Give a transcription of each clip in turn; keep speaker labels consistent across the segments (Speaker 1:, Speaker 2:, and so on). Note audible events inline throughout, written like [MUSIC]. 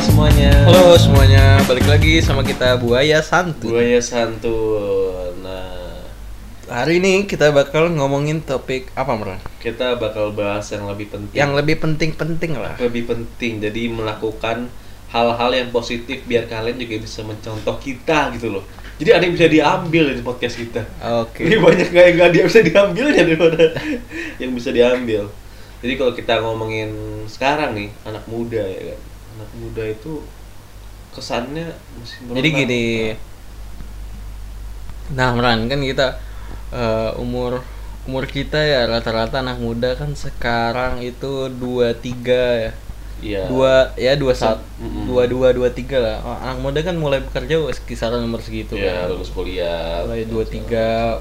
Speaker 1: semuanya.
Speaker 2: Halo semuanya, balik lagi sama kita Buaya Santu.
Speaker 1: Buaya Santun. Nah,
Speaker 2: Hari ini kita bakal ngomongin topik apa, Mer?
Speaker 1: kita bakal bahas yang lebih penting.
Speaker 2: Yang lebih penting-penting lah.
Speaker 1: lebih penting. Jadi melakukan hal-hal yang positif biar kalian juga bisa mencontoh kita gitu loh. Jadi ada yang bisa diambil dari podcast kita. Ini
Speaker 2: Oke.
Speaker 1: banyak nggak yang nggak dia bisa diambil ya daripada [LAUGHS] yang bisa diambil. Jadi kalau kita ngomongin sekarang nih anak muda ya kan, anak muda itu kesannya masih
Speaker 2: Jadi
Speaker 1: berenang.
Speaker 2: gini. Nah, Meran kan kita eh, umur umur kita ya rata-rata anak muda kan sekarang itu 23 ya.
Speaker 1: Iya.
Speaker 2: Dua ya 21
Speaker 1: Mm-mm.
Speaker 2: 22 23 lah. Anak muda kan mulai bekerja kisaran umur segitu
Speaker 1: ya
Speaker 2: kan.
Speaker 1: lulus kuliah Iya.
Speaker 2: mulai dua tiga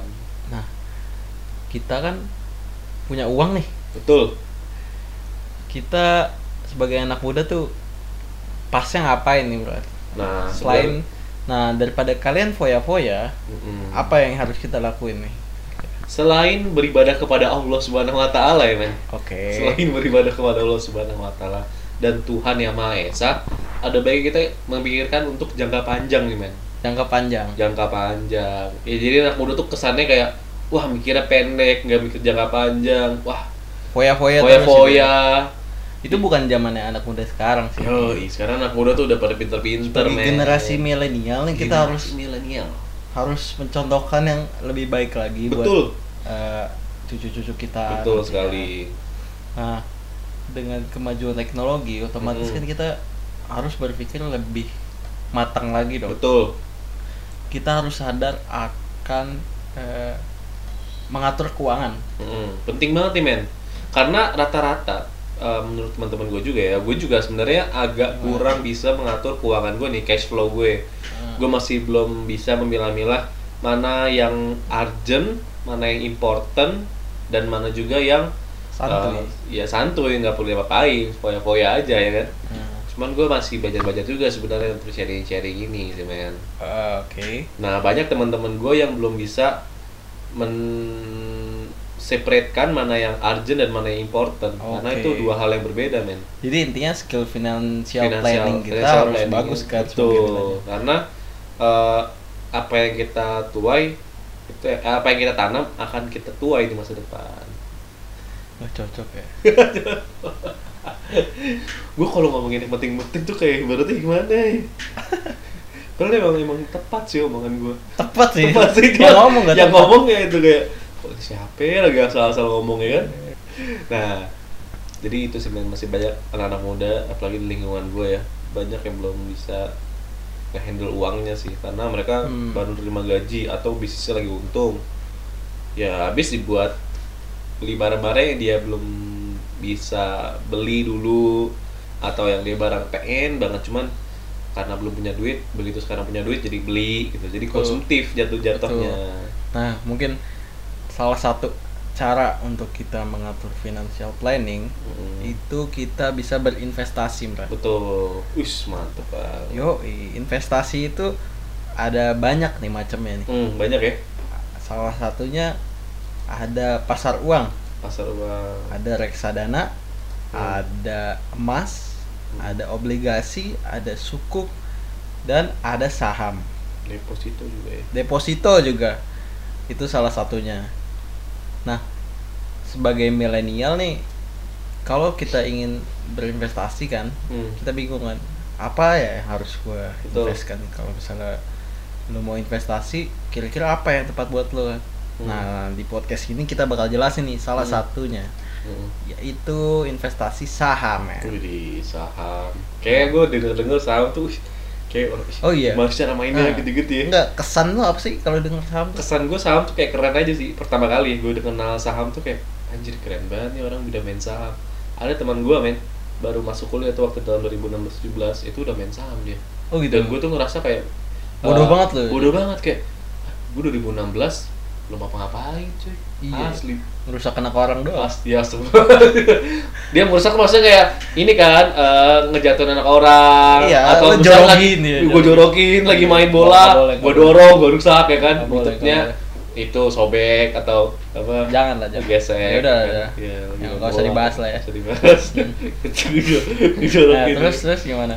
Speaker 2: nah kita kan punya uang nih
Speaker 1: betul
Speaker 2: kita sebagai anak muda tuh pasnya ngapain nih bro
Speaker 1: nah
Speaker 2: selain nah daripada kalian foya foya
Speaker 1: Mm-mm.
Speaker 2: apa yang harus kita lakuin nih
Speaker 1: selain beribadah kepada Allah Subhanahu Wa Taala ya men
Speaker 2: oke
Speaker 1: selain beribadah kepada Allah Subhanahu Wa Taala dan Tuhan yang Maha Esa ada baiknya kita memikirkan untuk jangka panjang nih men
Speaker 2: jangka panjang
Speaker 1: jangka panjang ya jadi anak muda tuh kesannya kayak wah mikirnya pendek nggak mikir jangka panjang wah
Speaker 2: foya foya
Speaker 1: foya foya
Speaker 2: gitu ya. itu bukan zamannya anak muda sekarang sih
Speaker 1: oh sekarang anak muda tuh udah pada pinter-pinter
Speaker 2: dari
Speaker 1: men
Speaker 2: generasi milenial nih kita harus
Speaker 1: Generasi milenial
Speaker 2: harus mencontohkan yang lebih baik lagi buat
Speaker 1: betul
Speaker 2: eh, cucu-cucu kita
Speaker 1: betul
Speaker 2: nantinya.
Speaker 1: sekali
Speaker 2: Nah, dengan kemajuan teknologi, otomatis
Speaker 1: Mm-mm.
Speaker 2: kan kita harus berpikir lebih matang lagi dong.
Speaker 1: betul
Speaker 2: Kita harus sadar akan eh, mengatur keuangan.
Speaker 1: Mm, penting banget nih men karena rata-rata eh, menurut teman-teman gue juga ya gue juga sebenarnya agak kurang bisa mengatur keuangan gue nih cash flow gue gue masih belum bisa memilah-milah mana yang urgent mana yang important dan mana juga yang
Speaker 2: Santuy.
Speaker 1: eh, ya santuy nggak perlu diapa-apain foya-foya aja ya kan
Speaker 2: Nah,
Speaker 1: cuman gue masih belajar-belajar juga sebenarnya untuk sharing-sharing ini sih men
Speaker 2: eh, Oke.
Speaker 1: Nah, banyak teman-teman gue yang belum bisa men separatekan mana yang urgent dan mana yang important. Karena
Speaker 2: Oke.
Speaker 1: itu dua hal yang berbeda, men.
Speaker 2: Jadi intinya skill financial,
Speaker 1: Financial-
Speaker 2: planning kita
Speaker 1: financial
Speaker 2: harus
Speaker 1: planning.
Speaker 2: bagus kan sebagai
Speaker 1: Betul.
Speaker 2: kita.
Speaker 1: Karena eh, apa yang kita tuai itu eh, apa yang kita tanam akan kita tuai di masa depan.
Speaker 2: Wah, cocok
Speaker 1: [LAUGHS]
Speaker 2: ya.
Speaker 1: Gue kalau ngomongin yang penting-penting tuh kayak berarti gimana
Speaker 2: [LAUGHS]
Speaker 1: ya? Karena emang, emang tepat sih omongan gue.
Speaker 2: Tepat sih.
Speaker 1: Tepat sih
Speaker 2: Yang ngomong nggak
Speaker 1: yang
Speaker 2: tepat.
Speaker 1: ngomong ya itu kayak "Kok siapa ya lagi asal-asal ngomong ya kan nah jadi itu sih men, masih banyak anak-anak muda apalagi di lingkungan gue ya banyak yang belum bisa ngehandle uangnya sih karena mereka
Speaker 2: Hmm.
Speaker 1: baru terima gaji atau bisnisnya lagi untung ya habis dibuat beli barang-barang yang dia belum bisa beli dulu atau yang dia barang pengen banget cuman karena belum punya duit begitu sekarang punya duit jadi beli gitu jadi
Speaker 2: Betul.
Speaker 1: konsumtif jatuh-jatuhnya
Speaker 2: Nah, mungkin salah satu cara untuk kita mengatur financial planning
Speaker 1: Mm.
Speaker 2: itu kita bisa berinvestasi, Mbak.
Speaker 1: betul us mantep banget
Speaker 2: Yo, investasi itu ada banyak nih macamnya nih.
Speaker 1: Hmm, banyak ya
Speaker 2: Salah satunya ada pasar uang,
Speaker 1: pasar uang
Speaker 2: ada reksadana,
Speaker 1: Hmm.
Speaker 2: ada emas,
Speaker 1: Hmm.
Speaker 2: ada obligasi, ada sukuk dan ada saham.
Speaker 1: deposito juga ya
Speaker 2: Deposito juga. Itu salah satunya. Nah, sebagai milenial nih kalau kita ingin berinvestasi kan,
Speaker 1: hmm.
Speaker 2: kita bingung kan apa ya yang harus gue
Speaker 1: Betul.
Speaker 2: investkan kalau misalnya lu mau investasi kira-kira apa yang tepat buat lo
Speaker 1: Hmm.
Speaker 2: nah di podcast ini kita bakal jelasin nih salah
Speaker 1: Hmm.
Speaker 2: satunya
Speaker 1: Hmm.
Speaker 2: yaitu investasi saham ya
Speaker 1: Wih, di saham kayak gue denger-denger saham tuh wih, kayak orang
Speaker 2: Oh, iya.
Speaker 1: gimana sih cara mainnya
Speaker 2: Nah.
Speaker 1: gitu-gitu ya
Speaker 2: enggak kesan lo apa sih kalau denger saham tuh
Speaker 1: kesan gue saham tuh kayak keren aja sih pertama kali gue udah kenal saham tuh kayak anjir keren banget nih orang udah main saham ada teman gue men baru masuk kuliah tuh waktu tahun 2016-17 itu udah main saham dia
Speaker 2: oh gitu
Speaker 1: dan gue tuh ngerasa kayak
Speaker 2: Bodoh
Speaker 1: eh,
Speaker 2: banget lu.
Speaker 1: bodoh banget kayak "Ah, gue 2016 belum apa ngapain cuy
Speaker 2: Iya.
Speaker 1: asli
Speaker 2: merusak anak orang doang
Speaker 1: pasti ya semua [LAUGHS] dia merusak maksudnya kayak ini kan eh, ngejatuhin anak orang
Speaker 2: Iya,
Speaker 1: atau misalnya
Speaker 2: lu jorokin,
Speaker 1: lagi-
Speaker 2: iya,
Speaker 1: gue jorokin lagi main
Speaker 2: Nggak
Speaker 1: bola
Speaker 2: boleh,
Speaker 1: gue
Speaker 2: nggak
Speaker 1: dorong gue rusak ya kan
Speaker 2: Nggak boleh,
Speaker 1: bentuknya
Speaker 2: nggak
Speaker 1: itu sobek atau apa
Speaker 2: jangan lah jangan
Speaker 1: gesek
Speaker 2: ya udah
Speaker 1: kan.
Speaker 2: udah
Speaker 1: Iya, lagi
Speaker 2: Ya,
Speaker 1: main
Speaker 2: nggak usah
Speaker 1: bola.
Speaker 2: dibahas lah
Speaker 1: [LAUGHS]
Speaker 2: ya
Speaker 1: Nggak usah dibahas Itu dijor-
Speaker 2: nah,
Speaker 1: dijorokin.
Speaker 2: terus terus gimana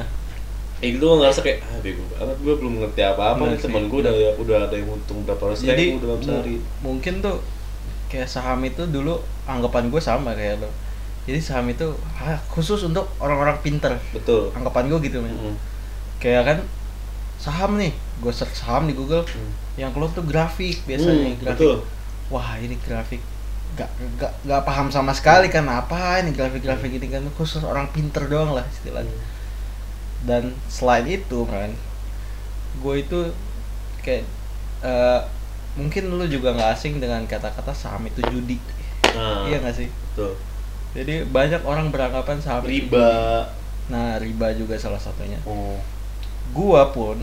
Speaker 1: ya gitu gue ngerasa kayak ah bego banget gue belum ngerti apa-apa
Speaker 2: Bener
Speaker 1: nih
Speaker 2: sih.
Speaker 1: temen gue udah udah ada yang untung berapa ratus
Speaker 2: jadi
Speaker 1: ribu dalam
Speaker 2: mu-
Speaker 1: sehari
Speaker 2: mungkin tuh kayak saham itu dulu anggapan gue sama kayak lo jadi saham itu ah, khusus untuk orang-orang pinter
Speaker 1: betul Hmm.
Speaker 2: anggapan gue gitu men
Speaker 1: Mm-mm.
Speaker 2: kayak kan saham nih gue search saham di Google
Speaker 1: Hmm.
Speaker 2: yang keluar tuh grafik biasanya
Speaker 1: Hmm,
Speaker 2: grafik
Speaker 1: betul
Speaker 2: wah ini grafik gak, gak, gak paham sama sekali kan apa ini
Speaker 1: Hmm.
Speaker 2: grafik-grafik ini kan khusus orang pinter doang lah istilahnya dan selain itu kan gue itu kayak eh, mungkin lu juga nggak asing dengan kata-kata saham itu judi
Speaker 1: nah
Speaker 2: iya nggak sih
Speaker 1: betul
Speaker 2: jadi banyak orang beranggapan saham itu
Speaker 1: riba
Speaker 2: judi. nah riba juga salah satunya
Speaker 1: oh
Speaker 2: gua pun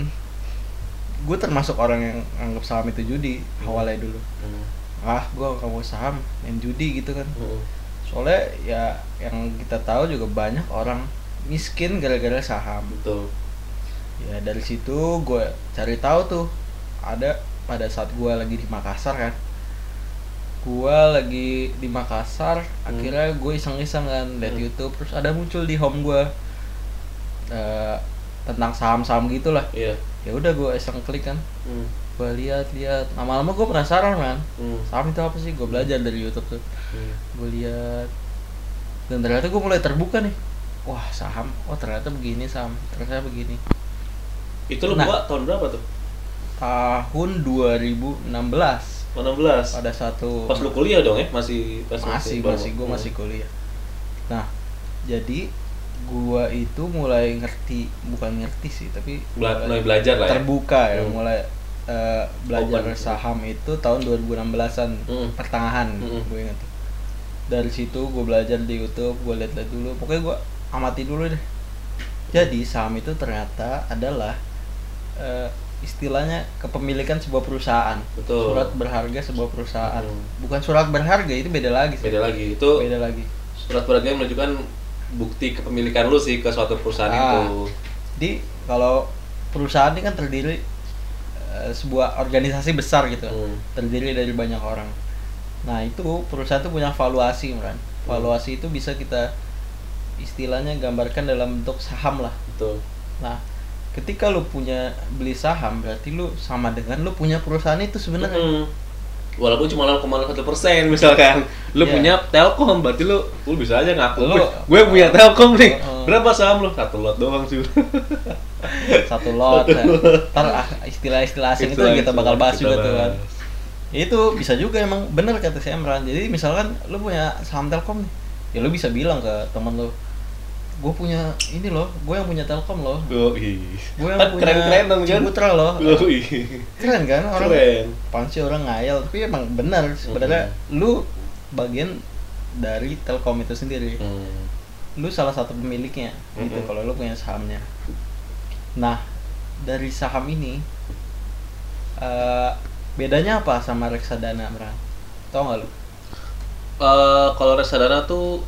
Speaker 2: gue termasuk orang yang anggap saham itu judi awalnya dulu
Speaker 1: Mm.
Speaker 2: ah gua nggak mau saham main judi gitu kan
Speaker 1: Mm-mm.
Speaker 2: soalnya ya yang kita tahu juga banyak orang miskin gara-gara saham
Speaker 1: betul
Speaker 2: ya dari situ gue cari tahu tuh ada pada saat gue lagi di Makassar kan gue lagi di Makassar akhirnya gue iseng-iseng kan liat
Speaker 1: Hmm.
Speaker 2: YouTube terus ada muncul di home gue eh, tentang saham-saham gitulah
Speaker 1: iya
Speaker 2: ya udah gue iseng klik kan
Speaker 1: Mm.
Speaker 2: gue lihat-lihat lama-lama gue penasaran man
Speaker 1: Mm.
Speaker 2: saham itu apa sih gue belajar dari YouTube tuh
Speaker 1: Mm.
Speaker 2: gue lihat dan ternyata gue mulai terbuka nih wah saham oh ternyata begini saham ternyata begini
Speaker 1: itu lu
Speaker 2: Nah.
Speaker 1: buat tahun berapa tuh
Speaker 2: tahun 2016
Speaker 1: tahun 16
Speaker 2: ada satu
Speaker 1: pas lu kuliah dong ya masih pas
Speaker 2: masih
Speaker 1: baru-
Speaker 2: masih gue
Speaker 1: Mm.
Speaker 2: masih kuliah nah jadi gue itu mulai ngerti bukan ngerti sih tapi
Speaker 1: Bela-
Speaker 2: mulai
Speaker 1: mulai belajar lah ya
Speaker 2: terbuka ya
Speaker 1: Hmm.
Speaker 2: mulai eh, belajar
Speaker 1: Open.
Speaker 2: saham itu tahun 2016an
Speaker 1: Hmm.
Speaker 2: pertengahan
Speaker 1: Hmm.
Speaker 2: gue ingat tuh. dari situ gue belajar di YouTube gue lihat-lihat dulu pokoknya gue amati dulu deh jadi saham itu ternyata adalah eh, istilahnya kepemilikan sebuah perusahaan
Speaker 1: Betul.
Speaker 2: surat berharga sebuah perusahaan
Speaker 1: Hmm.
Speaker 2: bukan surat berharga itu beda lagi sih
Speaker 1: beda lagi itu
Speaker 2: Beda lagi.
Speaker 1: surat berharga yang menunjukkan bukti kepemilikan lu sih ke suatu perusahaan
Speaker 2: Ah.
Speaker 1: Kan itu
Speaker 2: Jadi kalau perusahaan ini kan terdiri eh, sebuah organisasi besar gitu, kan.
Speaker 1: Hmm.
Speaker 2: terdiri dari banyak orang. Nah itu perusahaan itu punya valuasi, Imran.
Speaker 1: Hmm.
Speaker 2: Valuasi itu bisa kita istilahnya gambarkan dalam bentuk saham lah.
Speaker 1: betul
Speaker 2: Nah ketika lu punya beli saham berarti lu sama dengan lu punya perusahaan itu sebenarnya.
Speaker 1: Mm. walaupun cuma 0,01 persen misalkan lu
Speaker 2: Iya.
Speaker 1: punya Telkom berarti lu lu bisa aja ngaku
Speaker 2: Lu- Oh,
Speaker 1: "Wih, gue punya Telkom nih
Speaker 2: Heeh.
Speaker 1: berapa saham lu satu lot doang sih
Speaker 2: Satu lot. ya. Ntar ah, istilah-istilah asing itu
Speaker 1: Itulah
Speaker 2: kita bakal
Speaker 1: istilah
Speaker 2: bahas
Speaker 1: kita
Speaker 2: juga tuh kan.
Speaker 1: bahas.
Speaker 2: itu bisa juga emang bener kata si Emran jadi misalkan lu punya saham Telkom nih ya lu bisa bilang ke temen lu gue punya ini loh gue yang punya Telkom loh
Speaker 1: Yoi.
Speaker 2: gue yang
Speaker 1: Kan
Speaker 2: punya
Speaker 1: keren-keren dong kan
Speaker 2: Ciputra loh
Speaker 1: Yoi.
Speaker 2: keren kan orang
Speaker 1: keren
Speaker 2: apaan sih orang ngayal tapi emang bener sebenarnya lu bagian dari Telkom itu sendiri
Speaker 1: Hmm.
Speaker 2: lu salah satu pemiliknya gitu
Speaker 1: Mm-mm.
Speaker 2: kalau lu punya sahamnya nah dari saham ini eh, bedanya apa sama reksadana Bra? tau nggak lu
Speaker 1: Eh, kalau reksadana tuh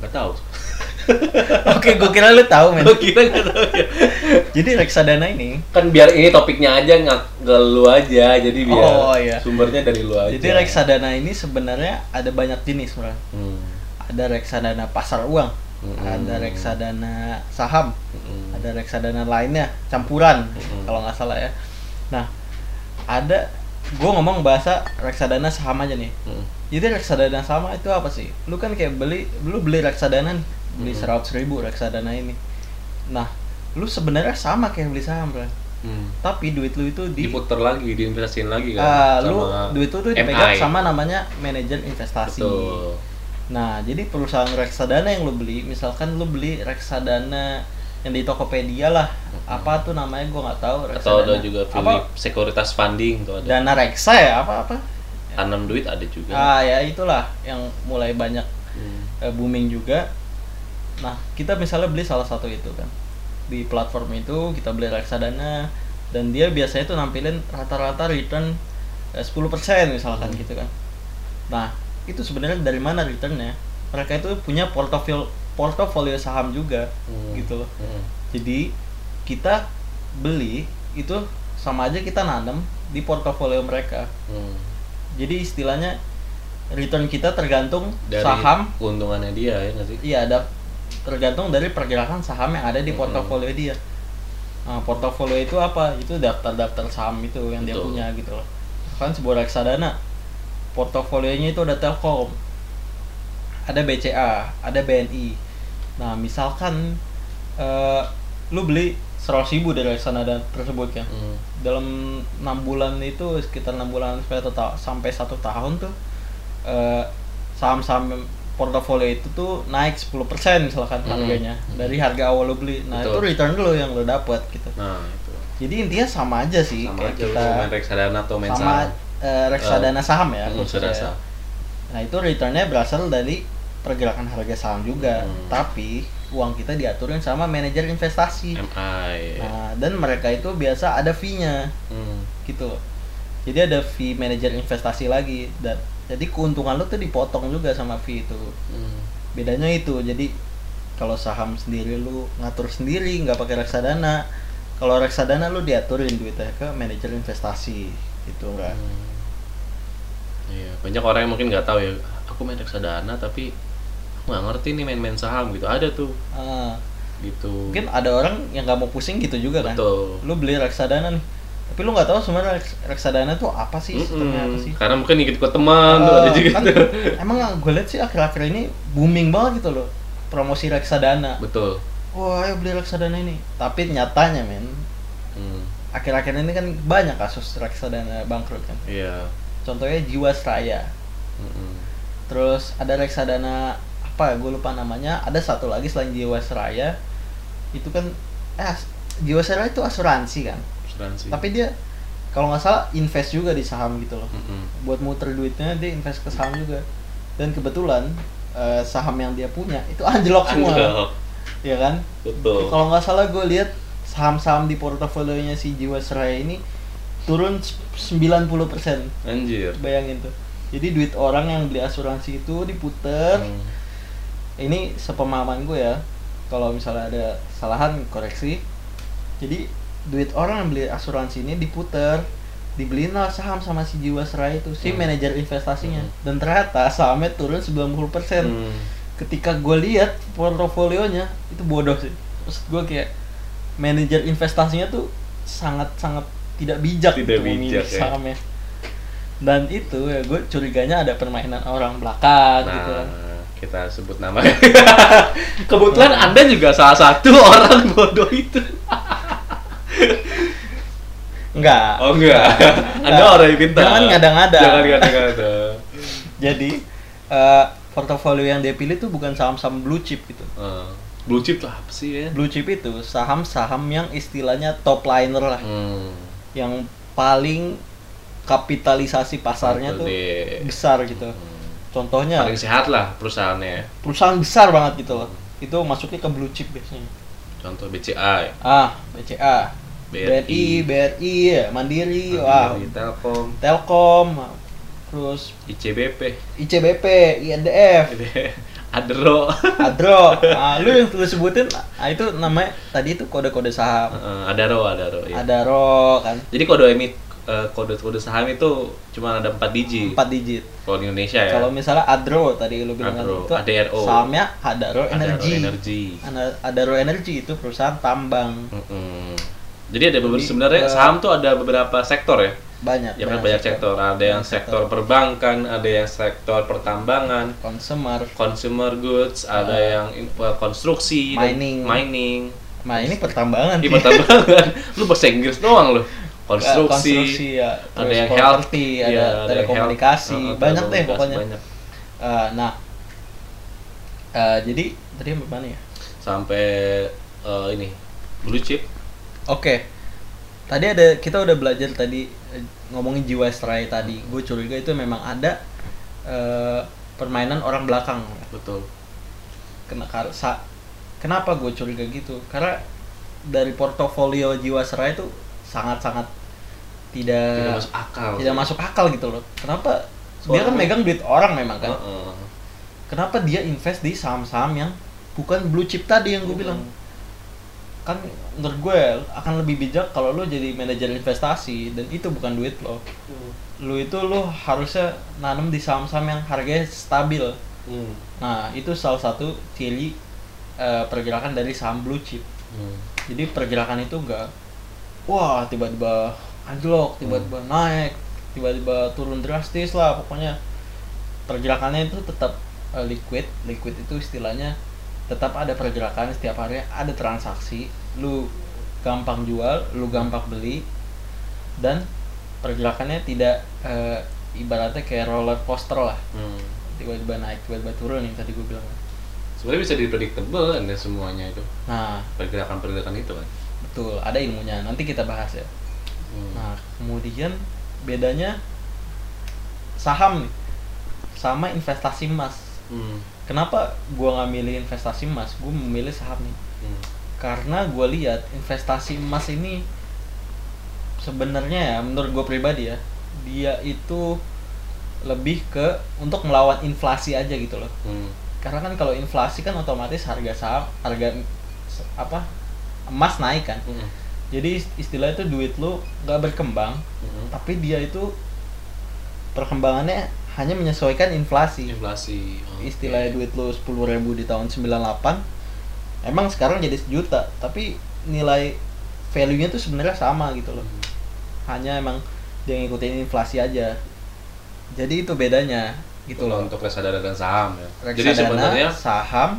Speaker 1: nggak tahu
Speaker 2: oke gue kira lu
Speaker 1: [LAUGHS]
Speaker 2: tahu men
Speaker 1: Gua kira nggak tahu ya
Speaker 2: jadi reksadana ini
Speaker 1: kan biar ini topiknya aja nggak ke lu aja jadi biar
Speaker 2: Oh, iya.
Speaker 1: sumbernya dari lu aja
Speaker 2: jadi reksadana ini sebenarnya ada banyak jenis Bra.
Speaker 1: Hmm.
Speaker 2: ada reksadana pasar uang
Speaker 1: Mm-mm.
Speaker 2: ada reksadana saham
Speaker 1: Mm-mm.
Speaker 2: ada reksadana lainnya campuran
Speaker 1: Mm-mm.
Speaker 2: kalau nggak salah ya nah ada gue ngomong bahasa reksadana saham aja nih
Speaker 1: Mm.
Speaker 2: jadi reksadana sama itu apa sih lu kan kayak beli lu beli reksadana nih beli
Speaker 1: Mm.
Speaker 2: seratus ribu reksadana ini nah lu sebenarnya sama kayak beli saham bro
Speaker 1: Hmm.
Speaker 2: tapi duit lu itu di
Speaker 1: diputer lagi, diinvestasiin lagi kan
Speaker 2: Ah, lu
Speaker 1: sama
Speaker 2: duit lu tuh
Speaker 1: MI.
Speaker 2: dipegang sama namanya manajer investasi
Speaker 1: Betul.
Speaker 2: Nah, jadi perusahaan reksadana yang lo beli, misalkan lo beli reksadana yang di Tokopedia lah, apa tuh namanya gue nggak
Speaker 1: Atau
Speaker 2: tahu.
Speaker 1: ada
Speaker 2: reksadana.
Speaker 1: juga
Speaker 2: apa
Speaker 1: Philip sekuritas funding tuh ada.
Speaker 2: dana reksa ya apa apa?
Speaker 1: Tanam duit ada juga.
Speaker 2: Ah ya itulah yang mulai banyak
Speaker 1: Hmm.
Speaker 2: eh, booming juga. Nah, kita misalnya beli salah satu itu kan di platform itu kita beli reksadana dan dia biasanya tuh nampilin rata-rata return eh, 10% misalkan gitu kan. Nah, itu sebenarnya dari mana returnnya? Mereka itu punya portofolio portofolio saham juga
Speaker 1: Hmm.
Speaker 2: gitu loh.
Speaker 1: Hmm.
Speaker 2: Jadi kita beli itu sama aja kita nanam di portofolio mereka.
Speaker 1: Hmm.
Speaker 2: Jadi istilahnya return kita tergantung
Speaker 1: Dari
Speaker 2: saham
Speaker 1: keuntungannya dia ya nggak sih?
Speaker 2: Iya ada tergantung dari pergerakan saham yang ada di
Speaker 1: Mm-mm.
Speaker 2: portofolio dia. Nah, portofolio itu apa? Itu daftar-daftar saham itu yang dia
Speaker 1: Betul.
Speaker 2: punya gitu loh. Kan sebuah reksadana portofolionya itu ada Telkom, ada BCA, ada BNI. Nah, misalkan eh, lu beli 100.000 dari reksadana tersebut ya
Speaker 1: Hmm.
Speaker 2: dalam enam bulan itu sekitar enam bulan sampai satu ta- sampai satu tahun tuh eh, saham-saham portofolio itu tuh naik 10% misalkan
Speaker 1: Hmm.
Speaker 2: harganya dari harga awal lo beli nah
Speaker 1: Betul.
Speaker 2: itu return lo yang lo dapat gitu
Speaker 1: Nah, itu.
Speaker 2: jadi intinya sama aja sih
Speaker 1: Sama
Speaker 2: kayak
Speaker 1: aja lu
Speaker 2: kita
Speaker 1: main reksadana atau main
Speaker 2: sama
Speaker 1: saham.
Speaker 2: eh, reksadana saham ya
Speaker 1: Hmm,
Speaker 2: khususnya.
Speaker 1: reksadana saham.
Speaker 2: nah itu returnnya berasal dari pergerakan harga saham juga
Speaker 1: Hmm.
Speaker 2: tapi uang kita diaturin sama manajer investasi
Speaker 1: MI.
Speaker 2: nah dan mereka itu biasa ada fee-nya
Speaker 1: Hmm.
Speaker 2: gitu loh. Jadi ada fee manajer investasi lagi dan jadi keuntungan lo tuh dipotong juga sama fee itu.
Speaker 1: Hmm.
Speaker 2: Bedanya itu. Jadi kalau saham sendiri lu ngatur sendiri, nggak pakai reksadana. Kalau reksadana lu diaturin duitnya ke manajer investasi gitu kan.
Speaker 1: Hmm. Iya, banyak orang yang mungkin nggak tahu ya. Aku main reksadana tapi aku nggak ngerti nih main-main saham gitu. Ada tuh
Speaker 2: Ah,
Speaker 1: gitu.
Speaker 2: mungkin ada orang yang nggak mau pusing gitu juga kan.
Speaker 1: betul.
Speaker 2: Lu beli reksadana nih. Tapi lu nggak tahu sebenarnya reks- reksadana tuh apa sih sistemnya apa
Speaker 1: Mm-mm.
Speaker 2: sih?
Speaker 1: Karena mungkin ikut ke teman tuh
Speaker 2: Eh,
Speaker 1: ada juga
Speaker 2: kan, [LAUGHS]
Speaker 1: tuh.
Speaker 2: emang gue liat sih akhir-akhir ini booming banget gitu loh promosi reksadana.
Speaker 1: Betul.
Speaker 2: Wah, ayo beli reksadana ini. Tapi nyatanya, men,
Speaker 1: Hmm.
Speaker 2: akhir-akhir ini kan banyak kasus reksadana bangkrut kan.
Speaker 1: Iya. Hmm.
Speaker 2: Contohnya Jiwasraya.
Speaker 1: Mm-mm.
Speaker 2: Terus ada reksadana apa? Gue lupa namanya. Ada satu lagi selain Jiwasraya. Itu kan eh as- Jiwasraya itu asuransi kan.
Speaker 1: Asuransi.
Speaker 2: Tapi dia kalau nggak salah invest juga di saham gitu loh.
Speaker 1: Mm-mm.
Speaker 2: Buat muter duitnya dia invest ke saham juga. Dan kebetulan eh, saham yang dia punya itu anjlok semua.
Speaker 1: Anjlok.
Speaker 2: Iya kan?
Speaker 1: Betul.
Speaker 2: Kalau nggak salah gue lihat saham-saham di portofolionya si Jiwasraya ini turun s- 90%.
Speaker 1: Anjir.
Speaker 2: Bayangin tuh. Jadi duit orang yang beli asuransi itu diputer.
Speaker 1: Hmm.
Speaker 2: Ini sepemahaman gue ya. Kalau misalnya ada kesalahan koreksi. Jadi duit orang yang beli asuransi ini diputer dibeliin lah saham sama si Jiwasraya itu si
Speaker 1: Hmm.
Speaker 2: manajer investasinya
Speaker 1: Hmm.
Speaker 2: dan ternyata sahamnya turun 90%
Speaker 1: Hmm.
Speaker 2: ketika gue lihat portofolionya itu bodoh sih terus gue kayak manajer investasinya tuh sangat sangat tidak bijak
Speaker 1: Tidak
Speaker 2: gitu memilih
Speaker 1: bijak, ya.
Speaker 2: sahamnya dan itu ya gue curiganya ada permainan orang belakang
Speaker 1: Nah,
Speaker 2: gitu kan
Speaker 1: kita sebut nama. [LAUGHS] Kebetulan Anda juga salah satu [LAUGHS] orang bodoh itu.
Speaker 2: enggak
Speaker 1: Oh enggak. [LAUGHS] Anda orang yang pintar.
Speaker 2: Jangan ngada-ngada.
Speaker 1: Jangan ngada-ngada.
Speaker 2: jadi eh, portofolio yang dia pilih tuh bukan saham-saham blue chip gitu
Speaker 1: Eh, blue chip lah apa sih ya?
Speaker 2: blue chip itu saham-saham yang istilahnya top liner lah
Speaker 1: Hmm.
Speaker 2: yang paling kapitalisasi pasarnya
Speaker 1: Betul
Speaker 2: tuh
Speaker 1: deh.
Speaker 2: besar gitu
Speaker 1: Hmm.
Speaker 2: contohnya
Speaker 1: Paling sehat lah perusahaannya. ya.
Speaker 2: perusahaan besar banget gitu loh itu masuknya ke blue chip biasanya
Speaker 1: Contoh BCA,
Speaker 2: ah BCA
Speaker 1: BRI.
Speaker 2: BRI BRI ya, Mandiri, wah
Speaker 1: Mandiri, Telkom,
Speaker 2: Telkom terus
Speaker 1: ICBP,
Speaker 2: ICBP INDF
Speaker 1: [LAUGHS] Adro.
Speaker 2: Adro ah, lu yang lu sebutin ah, itu namanya tadi itu kode-kode saham
Speaker 1: Eh, Adaro, Adaro. iya.
Speaker 2: ada ro kan
Speaker 1: Jadi kode emit eh, kode-kode saham itu cuma ada 4 digit.
Speaker 2: 4 digit
Speaker 1: Kalau di Indonesia ya.
Speaker 2: kalau misalnya Adro tadi lu bilang kan
Speaker 1: Adro,
Speaker 2: itu
Speaker 1: ADRO.
Speaker 2: sahamnya Adaro
Speaker 1: Adaro
Speaker 2: Energy
Speaker 1: Energy.
Speaker 2: Ana- Adaro Energy itu perusahaan tambang
Speaker 1: Mm-mm. Jadi ada beberapa
Speaker 2: Jadi,
Speaker 1: sebenarnya
Speaker 2: eh,
Speaker 1: saham tuh ada beberapa sektor ya.
Speaker 2: banyak
Speaker 1: Ya kan banyak sektor. Ada yang sektor perbankan, ada yang sektor pertambangan,
Speaker 2: consumer
Speaker 1: consumer goods, ada yang in- eh, konstruksi, dan
Speaker 2: Mining.
Speaker 1: mining.
Speaker 2: nah ini pertambangan
Speaker 1: Ih,
Speaker 2: sih.
Speaker 1: pertambangan. lu bahasa Inggris doang lu. Konstruksi.
Speaker 2: konstruksi ya.
Speaker 1: Ada
Speaker 2: Terus
Speaker 1: yang health,
Speaker 2: property,
Speaker 1: iya,
Speaker 2: ada
Speaker 1: yang
Speaker 2: telekomunikasi,
Speaker 1: health, eh,
Speaker 2: banyak deh
Speaker 1: telekomunikasi,
Speaker 2: pokoknya.
Speaker 1: banyak.
Speaker 2: Eh, nah, eh, jadi tadi yang mana ya?
Speaker 1: Sampai eh, ini blue chip.
Speaker 2: Oke, tadi ada kita udah belajar tadi eh, ngomongin jiwa serai tadi. Gue curiga itu memang ada eh, permainan orang belakang.
Speaker 1: Betul.
Speaker 2: Kena kar- sa- Kenapa gue curiga gitu? Karena dari portofolio jiwa serai itu sangat-sangat
Speaker 1: Tidak
Speaker 2: tidak
Speaker 1: masuk akal.
Speaker 2: tidak masuk akal gitu loh. Kenapa? dia
Speaker 1: Soalnya-
Speaker 2: kan megang duit orang memang kan.
Speaker 1: Heeh.
Speaker 2: kenapa dia invest di saham-saham yang bukan blue chip tadi yang gue bilang kan menurut gue akan lebih bijak kalau lo jadi manajer investasi dan itu bukan duit lo
Speaker 1: Hmm.
Speaker 2: lo itu lo harusnya nanam di saham-saham yang harganya stabil
Speaker 1: Hmm.
Speaker 2: nah itu salah satu ciri eh, pergerakan dari saham blue chip.
Speaker 1: Hmm.
Speaker 2: Jadi pergerakan itu enggak wah tiba-tiba anjlok, tiba-tiba naik, tiba-tiba turun drastis lah pokoknya pergerakannya itu tetap eh, liquid. Liquid itu istilahnya tetap ada pergerakan setiap harinya ada transaksi. Lu gampang jual, lu gampang beli dan pergerakannya tidak eh, ibaratnya kayak roller coaster lah.
Speaker 1: Hmm.
Speaker 2: Tiba-tiba naik, tiba-tiba turun yang tadi gue bilang.
Speaker 1: Sebenarnya bisa dipredictable kan ya semuanya itu
Speaker 2: Nah,
Speaker 1: pergerakan-pergerakan itu kan.
Speaker 2: Betul, ada ilmunya. Nanti kita bahas ya.
Speaker 1: Hmm.
Speaker 2: Nah, kemudian bedanya saham nih sama investasi emas.
Speaker 1: Hmm.
Speaker 2: Kenapa gua nggak milih investasi emas? Gua memilih saham nih.
Speaker 1: Hmm.
Speaker 2: Karena gua lihat investasi emas ini sebenarnya ya menurut gua pribadi ya, dia itu lebih ke untuk melawan inflasi aja gitu loh.
Speaker 1: Hmm.
Speaker 2: Karena kan kalau inflasi kan otomatis harga saham, harga apa? emas naik kan.
Speaker 1: Hmm.
Speaker 2: jadi ist- istilah itu duit lu nggak berkembang
Speaker 1: Hmm.
Speaker 2: tapi dia itu perkembangannya hanya menyesuaikan inflasi
Speaker 1: Inflasi. Oh,
Speaker 2: istilahnya
Speaker 1: oke.
Speaker 2: duit lu 10.000 di tahun 98 emang sekarang jadi sejuta tapi nilai value-nya tuh sebenarnya sama gitu loh
Speaker 1: Hmm.
Speaker 2: hanya emang dia ngikutin inflasi aja jadi itu bedanya gitu loh
Speaker 1: Untuk reksadana dan saham ya. Jadi
Speaker 2: reksadana,
Speaker 1: sebenarnya
Speaker 2: saham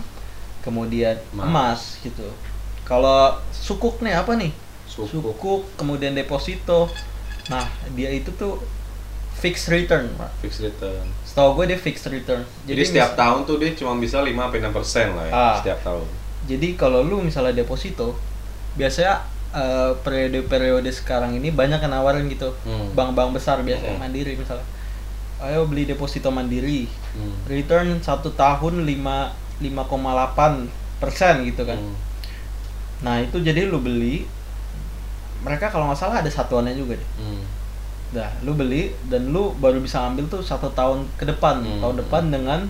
Speaker 2: kemudian
Speaker 1: Emas.
Speaker 2: emas gitu kalau sukuk nih apa nih
Speaker 1: suku.
Speaker 2: sukuk kemudian deposito nah dia itu tuh fixed return Pak.
Speaker 1: fixed return.
Speaker 2: setahu gue dia fixed return
Speaker 1: Jadi, setiap
Speaker 2: mis-
Speaker 1: tahun tuh dia cuma bisa 5 sampai 6 persen lah ya
Speaker 2: Ah.
Speaker 1: setiap tahun.
Speaker 2: jadi kalau lu misalnya deposito biasanya eh, periode-periode sekarang ini banyak yang nawarin gitu
Speaker 1: Hmm.
Speaker 2: bank-bank besar biasanya
Speaker 1: Hmm.
Speaker 2: mandiri misalnya ayo beli deposito mandiri
Speaker 1: Hmm.
Speaker 2: return satu tahun 5 5,8 persen gitu kan
Speaker 1: Hmm.
Speaker 2: nah itu jadi lu beli mereka kalau nggak salah ada satuannya juga deh
Speaker 1: Hmm.
Speaker 2: Nah, lu beli dan lu baru bisa ambil tuh satu tahun ke depan,
Speaker 1: Hmm.
Speaker 2: tahun depan dengan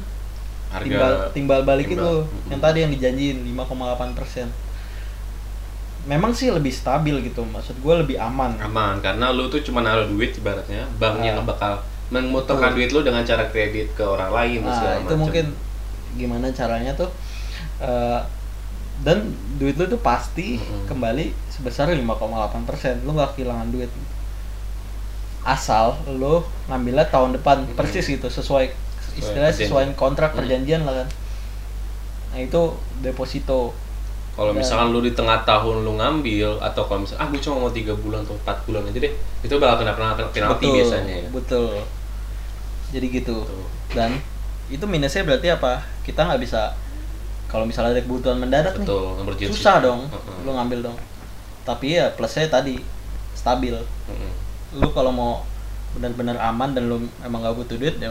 Speaker 1: Harga
Speaker 2: timbal timbal balik
Speaker 1: timbal. Hmm.
Speaker 2: itu
Speaker 1: Mm-mm.
Speaker 2: yang tadi yang dijanjiin 5,8 persen. Memang sih lebih stabil gitu, maksud gue lebih aman.
Speaker 1: aman karena lu tuh cuma naruh duit ibaratnya banknya
Speaker 2: Ah.
Speaker 1: nggak bakal memutarkan duit lu dengan cara kredit ke orang lain dan
Speaker 2: Nah,
Speaker 1: Iya, segala
Speaker 2: itu
Speaker 1: macam.
Speaker 2: mungkin gimana caranya tuh eh, dan duit lu tuh pasti
Speaker 1: Mm-mm.
Speaker 2: kembali sebesar 5,8 persen. Lu nggak kehilangan duit asal lu ngambilnya tahun depan
Speaker 1: Mm-mm.
Speaker 2: persis gitu sesuai istilahnya sesuai
Speaker 1: perjanjian.
Speaker 2: kontrak
Speaker 1: Mm.
Speaker 2: perjanjian lah kan. Nah itu deposito.
Speaker 1: Kalau
Speaker 2: Dan-
Speaker 1: misalkan lu di tengah tahun lu ngambil atau kalau misalkan ah gue cuma mau tiga bulan atau empat bulan aja deh itu bakal kena penalti, penalti
Speaker 2: betul,
Speaker 1: biasanya ya.
Speaker 2: Betul. Jadi gitu.
Speaker 1: Betul.
Speaker 2: Dan itu minusnya berarti apa? Kita nggak bisa kalau misalnya ada kebutuhan mendadak nih.
Speaker 1: Betul, emergency.
Speaker 2: susah dong
Speaker 1: Heeh.
Speaker 2: lu ngambil dong tapi ya plusnya tadi stabil
Speaker 1: Heeh.
Speaker 2: lu kalau mau benar-benar aman dan lu emang gak butuh duit ya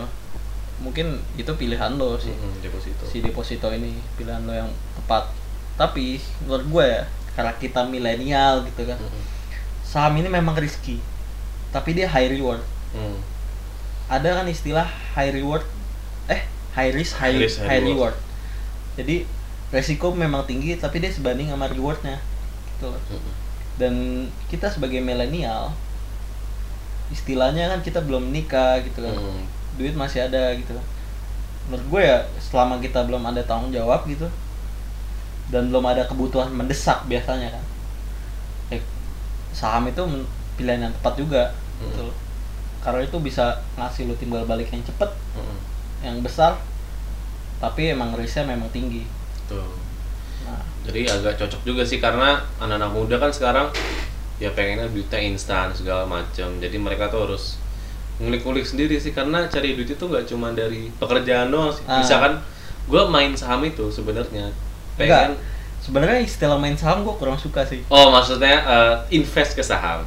Speaker 2: mungkin itu pilihan lo sih
Speaker 1: Heeh, deposito.
Speaker 2: si deposito ini pilihan lo yang tepat tapi menurut gue ya karena kita milenial gitu kan
Speaker 1: Heeh.
Speaker 2: saham ini memang risky tapi dia high reward
Speaker 1: Heeh.
Speaker 2: ada kan istilah high reward eh high risk high,
Speaker 1: High risk, high
Speaker 2: high
Speaker 1: reward.
Speaker 2: reward. jadi resiko memang tinggi tapi dia sebanding sama rewardnya gitu loh
Speaker 1: Heeh.
Speaker 2: dan kita sebagai milenial istilahnya kan kita belum nikah gitu kan
Speaker 1: Heeh.
Speaker 2: duit masih ada gitu kan menurut gue ya selama kita belum ada tanggung jawab gitu dan belum ada kebutuhan mendesak biasanya kan ya, saham itu men- pilihan yang tepat juga gitu
Speaker 1: Mm.
Speaker 2: loh. karena itu bisa ngasih lu timbal balik yang cepet
Speaker 1: Heeh.
Speaker 2: yang besar tapi emang risknya memang tinggi
Speaker 1: Betul.
Speaker 2: nah
Speaker 1: jadi agak cocok juga sih karena anak-anak muda kan sekarang ya pengennya duitnya instan segala macam jadi mereka tuh harus ngulik-ngulik sendiri sih karena cari duit itu nggak cuma dari pekerjaan doang sih
Speaker 2: Ah.
Speaker 1: misalkan gue main saham itu sebenarnya
Speaker 2: enggak
Speaker 1: pengen
Speaker 2: sebenarnya istilah main saham gue kurang suka sih
Speaker 1: oh maksudnya eh, invest ke saham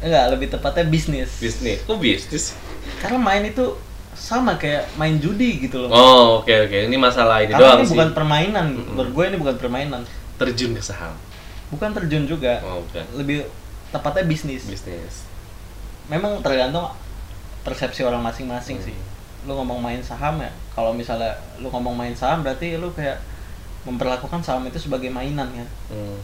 Speaker 2: Enggak, lebih tepatnya bisnis.
Speaker 1: bisnis kok bisnis
Speaker 2: Karena main itu sama kayak main judi gitu loh.
Speaker 1: oh oke oke ini masalah ini
Speaker 2: Karena
Speaker 1: doang
Speaker 2: ini
Speaker 1: sih
Speaker 2: bukan permainan, gitu.
Speaker 1: Mm-mm.
Speaker 2: menurut gue ini bukan permainan.
Speaker 1: terjun ke saham
Speaker 2: Bukan terjun juga,
Speaker 1: oh bukan
Speaker 2: lebih tepatnya bisnis.
Speaker 1: bisnis
Speaker 2: Memang tergantung persepsi orang masing-masing
Speaker 1: Hmm.
Speaker 2: sih. Lu ngomong main saham ya, kalau misalnya lu ngomong main saham berarti lu kayak memperlakukan saham itu sebagai mainan kan.
Speaker 1: Hmm.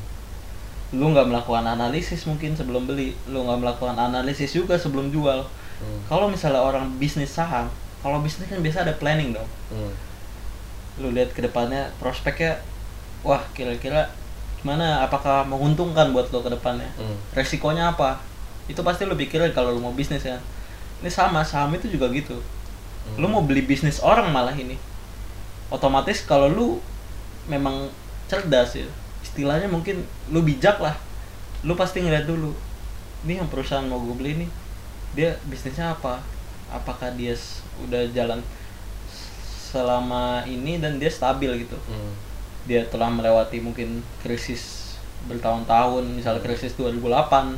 Speaker 2: Lu nggak melakukan analisis mungkin sebelum beli, lu nggak melakukan analisis juga sebelum jual.
Speaker 1: Hmm.
Speaker 2: Kalau misalnya orang bisnis saham, kalau bisnis kan biasa ada planning dong.
Speaker 1: Hmm.
Speaker 2: lu lihat ke depannya prospeknya wah kira-kira gimana apakah menguntungkan buat lo ke depannya
Speaker 1: Hmm.
Speaker 2: resikonya apa itu pasti lo pikirin kalau lo mau bisnis ya ini sama saham itu juga gitu lo mau beli bisnis orang malah ini otomatis kalau lo memang cerdas ya istilahnya mungkin lo bijak lah lo pasti ngeliat dulu ini yang perusahaan mau gue beli nih dia bisnisnya apa apakah dia s- udah jalan s- selama ini dan dia stabil gitu
Speaker 1: Hmm.
Speaker 2: dia telah melewati mungkin krisis bertahun-tahun misalnya krisis 2008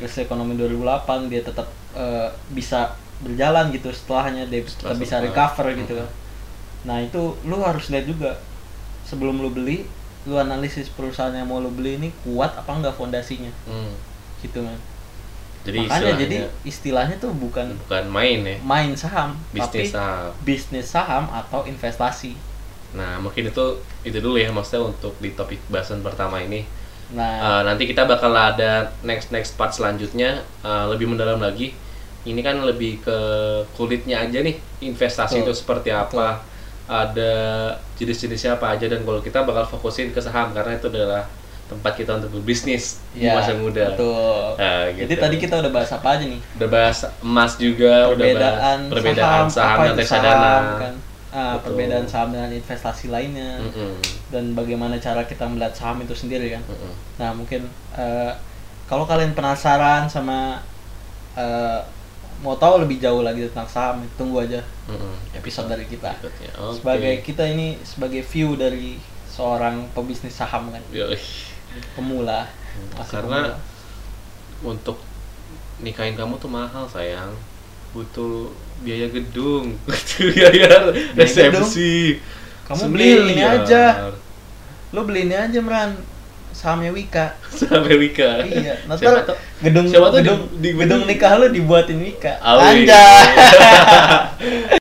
Speaker 2: krisis ekonomi 2008 dia tetap eh, bisa berjalan gitu setelahnya dia
Speaker 1: Setelah
Speaker 2: tetap bisa
Speaker 1: survive.
Speaker 2: recover gitu
Speaker 1: Mhm.
Speaker 2: kan nah itu lu harus lihat juga sebelum lu beli lu analisis perusahaan yang mau lu beli ini kuat apa enggak fondasinya
Speaker 1: Hmm.
Speaker 2: gitu kan
Speaker 1: Jadi
Speaker 2: makanya jadi eh,
Speaker 1: istilahnya
Speaker 2: istilahnya tuh bukan
Speaker 1: bukan main ya,
Speaker 2: main saham tapi
Speaker 1: bisnis saham.
Speaker 2: bisnis saham atau investasi
Speaker 1: Nah, mungkin itu itu dulu ya maksudnya untuk di topik bahasan pertama ini. Eh,
Speaker 2: nah
Speaker 1: nanti kita bakal ada next next part selanjutnya eh, lebih mendalam lagi. Ini kan lebih ke kulitnya aja nih investasi
Speaker 2: Betul.
Speaker 1: itu seperti apa, ada jenis-jenisnya apa aja dan kalau kita bakal fokusin ke saham karena itu adalah tempat kita untuk berbisnis di masa muda.
Speaker 2: Ya, betul
Speaker 1: Nah,
Speaker 2: Jadi
Speaker 1: gitu.
Speaker 2: tadi kita udah bahas apa aja nih?
Speaker 1: udah bahas emas juga, udah
Speaker 2: Perbedaan
Speaker 1: bahas perbedaan saham,
Speaker 2: apa
Speaker 1: dan
Speaker 2: itu
Speaker 1: reksadana.
Speaker 2: kan? Ah,
Speaker 1: Betul.
Speaker 2: perbedaan saham dengan investasi lainnya
Speaker 1: Mm-mm, Mm.
Speaker 2: dan bagaimana cara kita melihat saham itu sendiri kan.
Speaker 1: mm-mm.
Speaker 2: Nah, mungkin eh, kalau kalian penasaran sama eh, mau tahu lebih jauh lagi tentang saham, tunggu aja
Speaker 1: Mm-mm.
Speaker 2: episode dari kita.
Speaker 1: Berikutnya. Oke.
Speaker 2: Sebagai kita ini sebagai view dari seorang pebisnis saham kan,
Speaker 1: Yoi.
Speaker 2: pemula.
Speaker 1: Iya. Hmm,
Speaker 2: Masih
Speaker 1: Karena
Speaker 2: pemula.
Speaker 1: untuk nikahin kamu tuh mahal sayang. Butuh biaya gedung, [LAUGHS] butuh biaya resepsi.
Speaker 2: kamu beli ini
Speaker 1: Semiliar.
Speaker 2: aja. Lo beli ini aja, Meran. Sahamnya Wika.
Speaker 1: [LAUGHS] Sampai Wika.
Speaker 2: Iya, nanti
Speaker 1: Siapa tuh?
Speaker 2: gedung
Speaker 1: siapa tuh di-
Speaker 2: gedung
Speaker 1: di-
Speaker 2: gedung nikah lu dibuatin nikah.
Speaker 1: Awe.
Speaker 2: Anjay.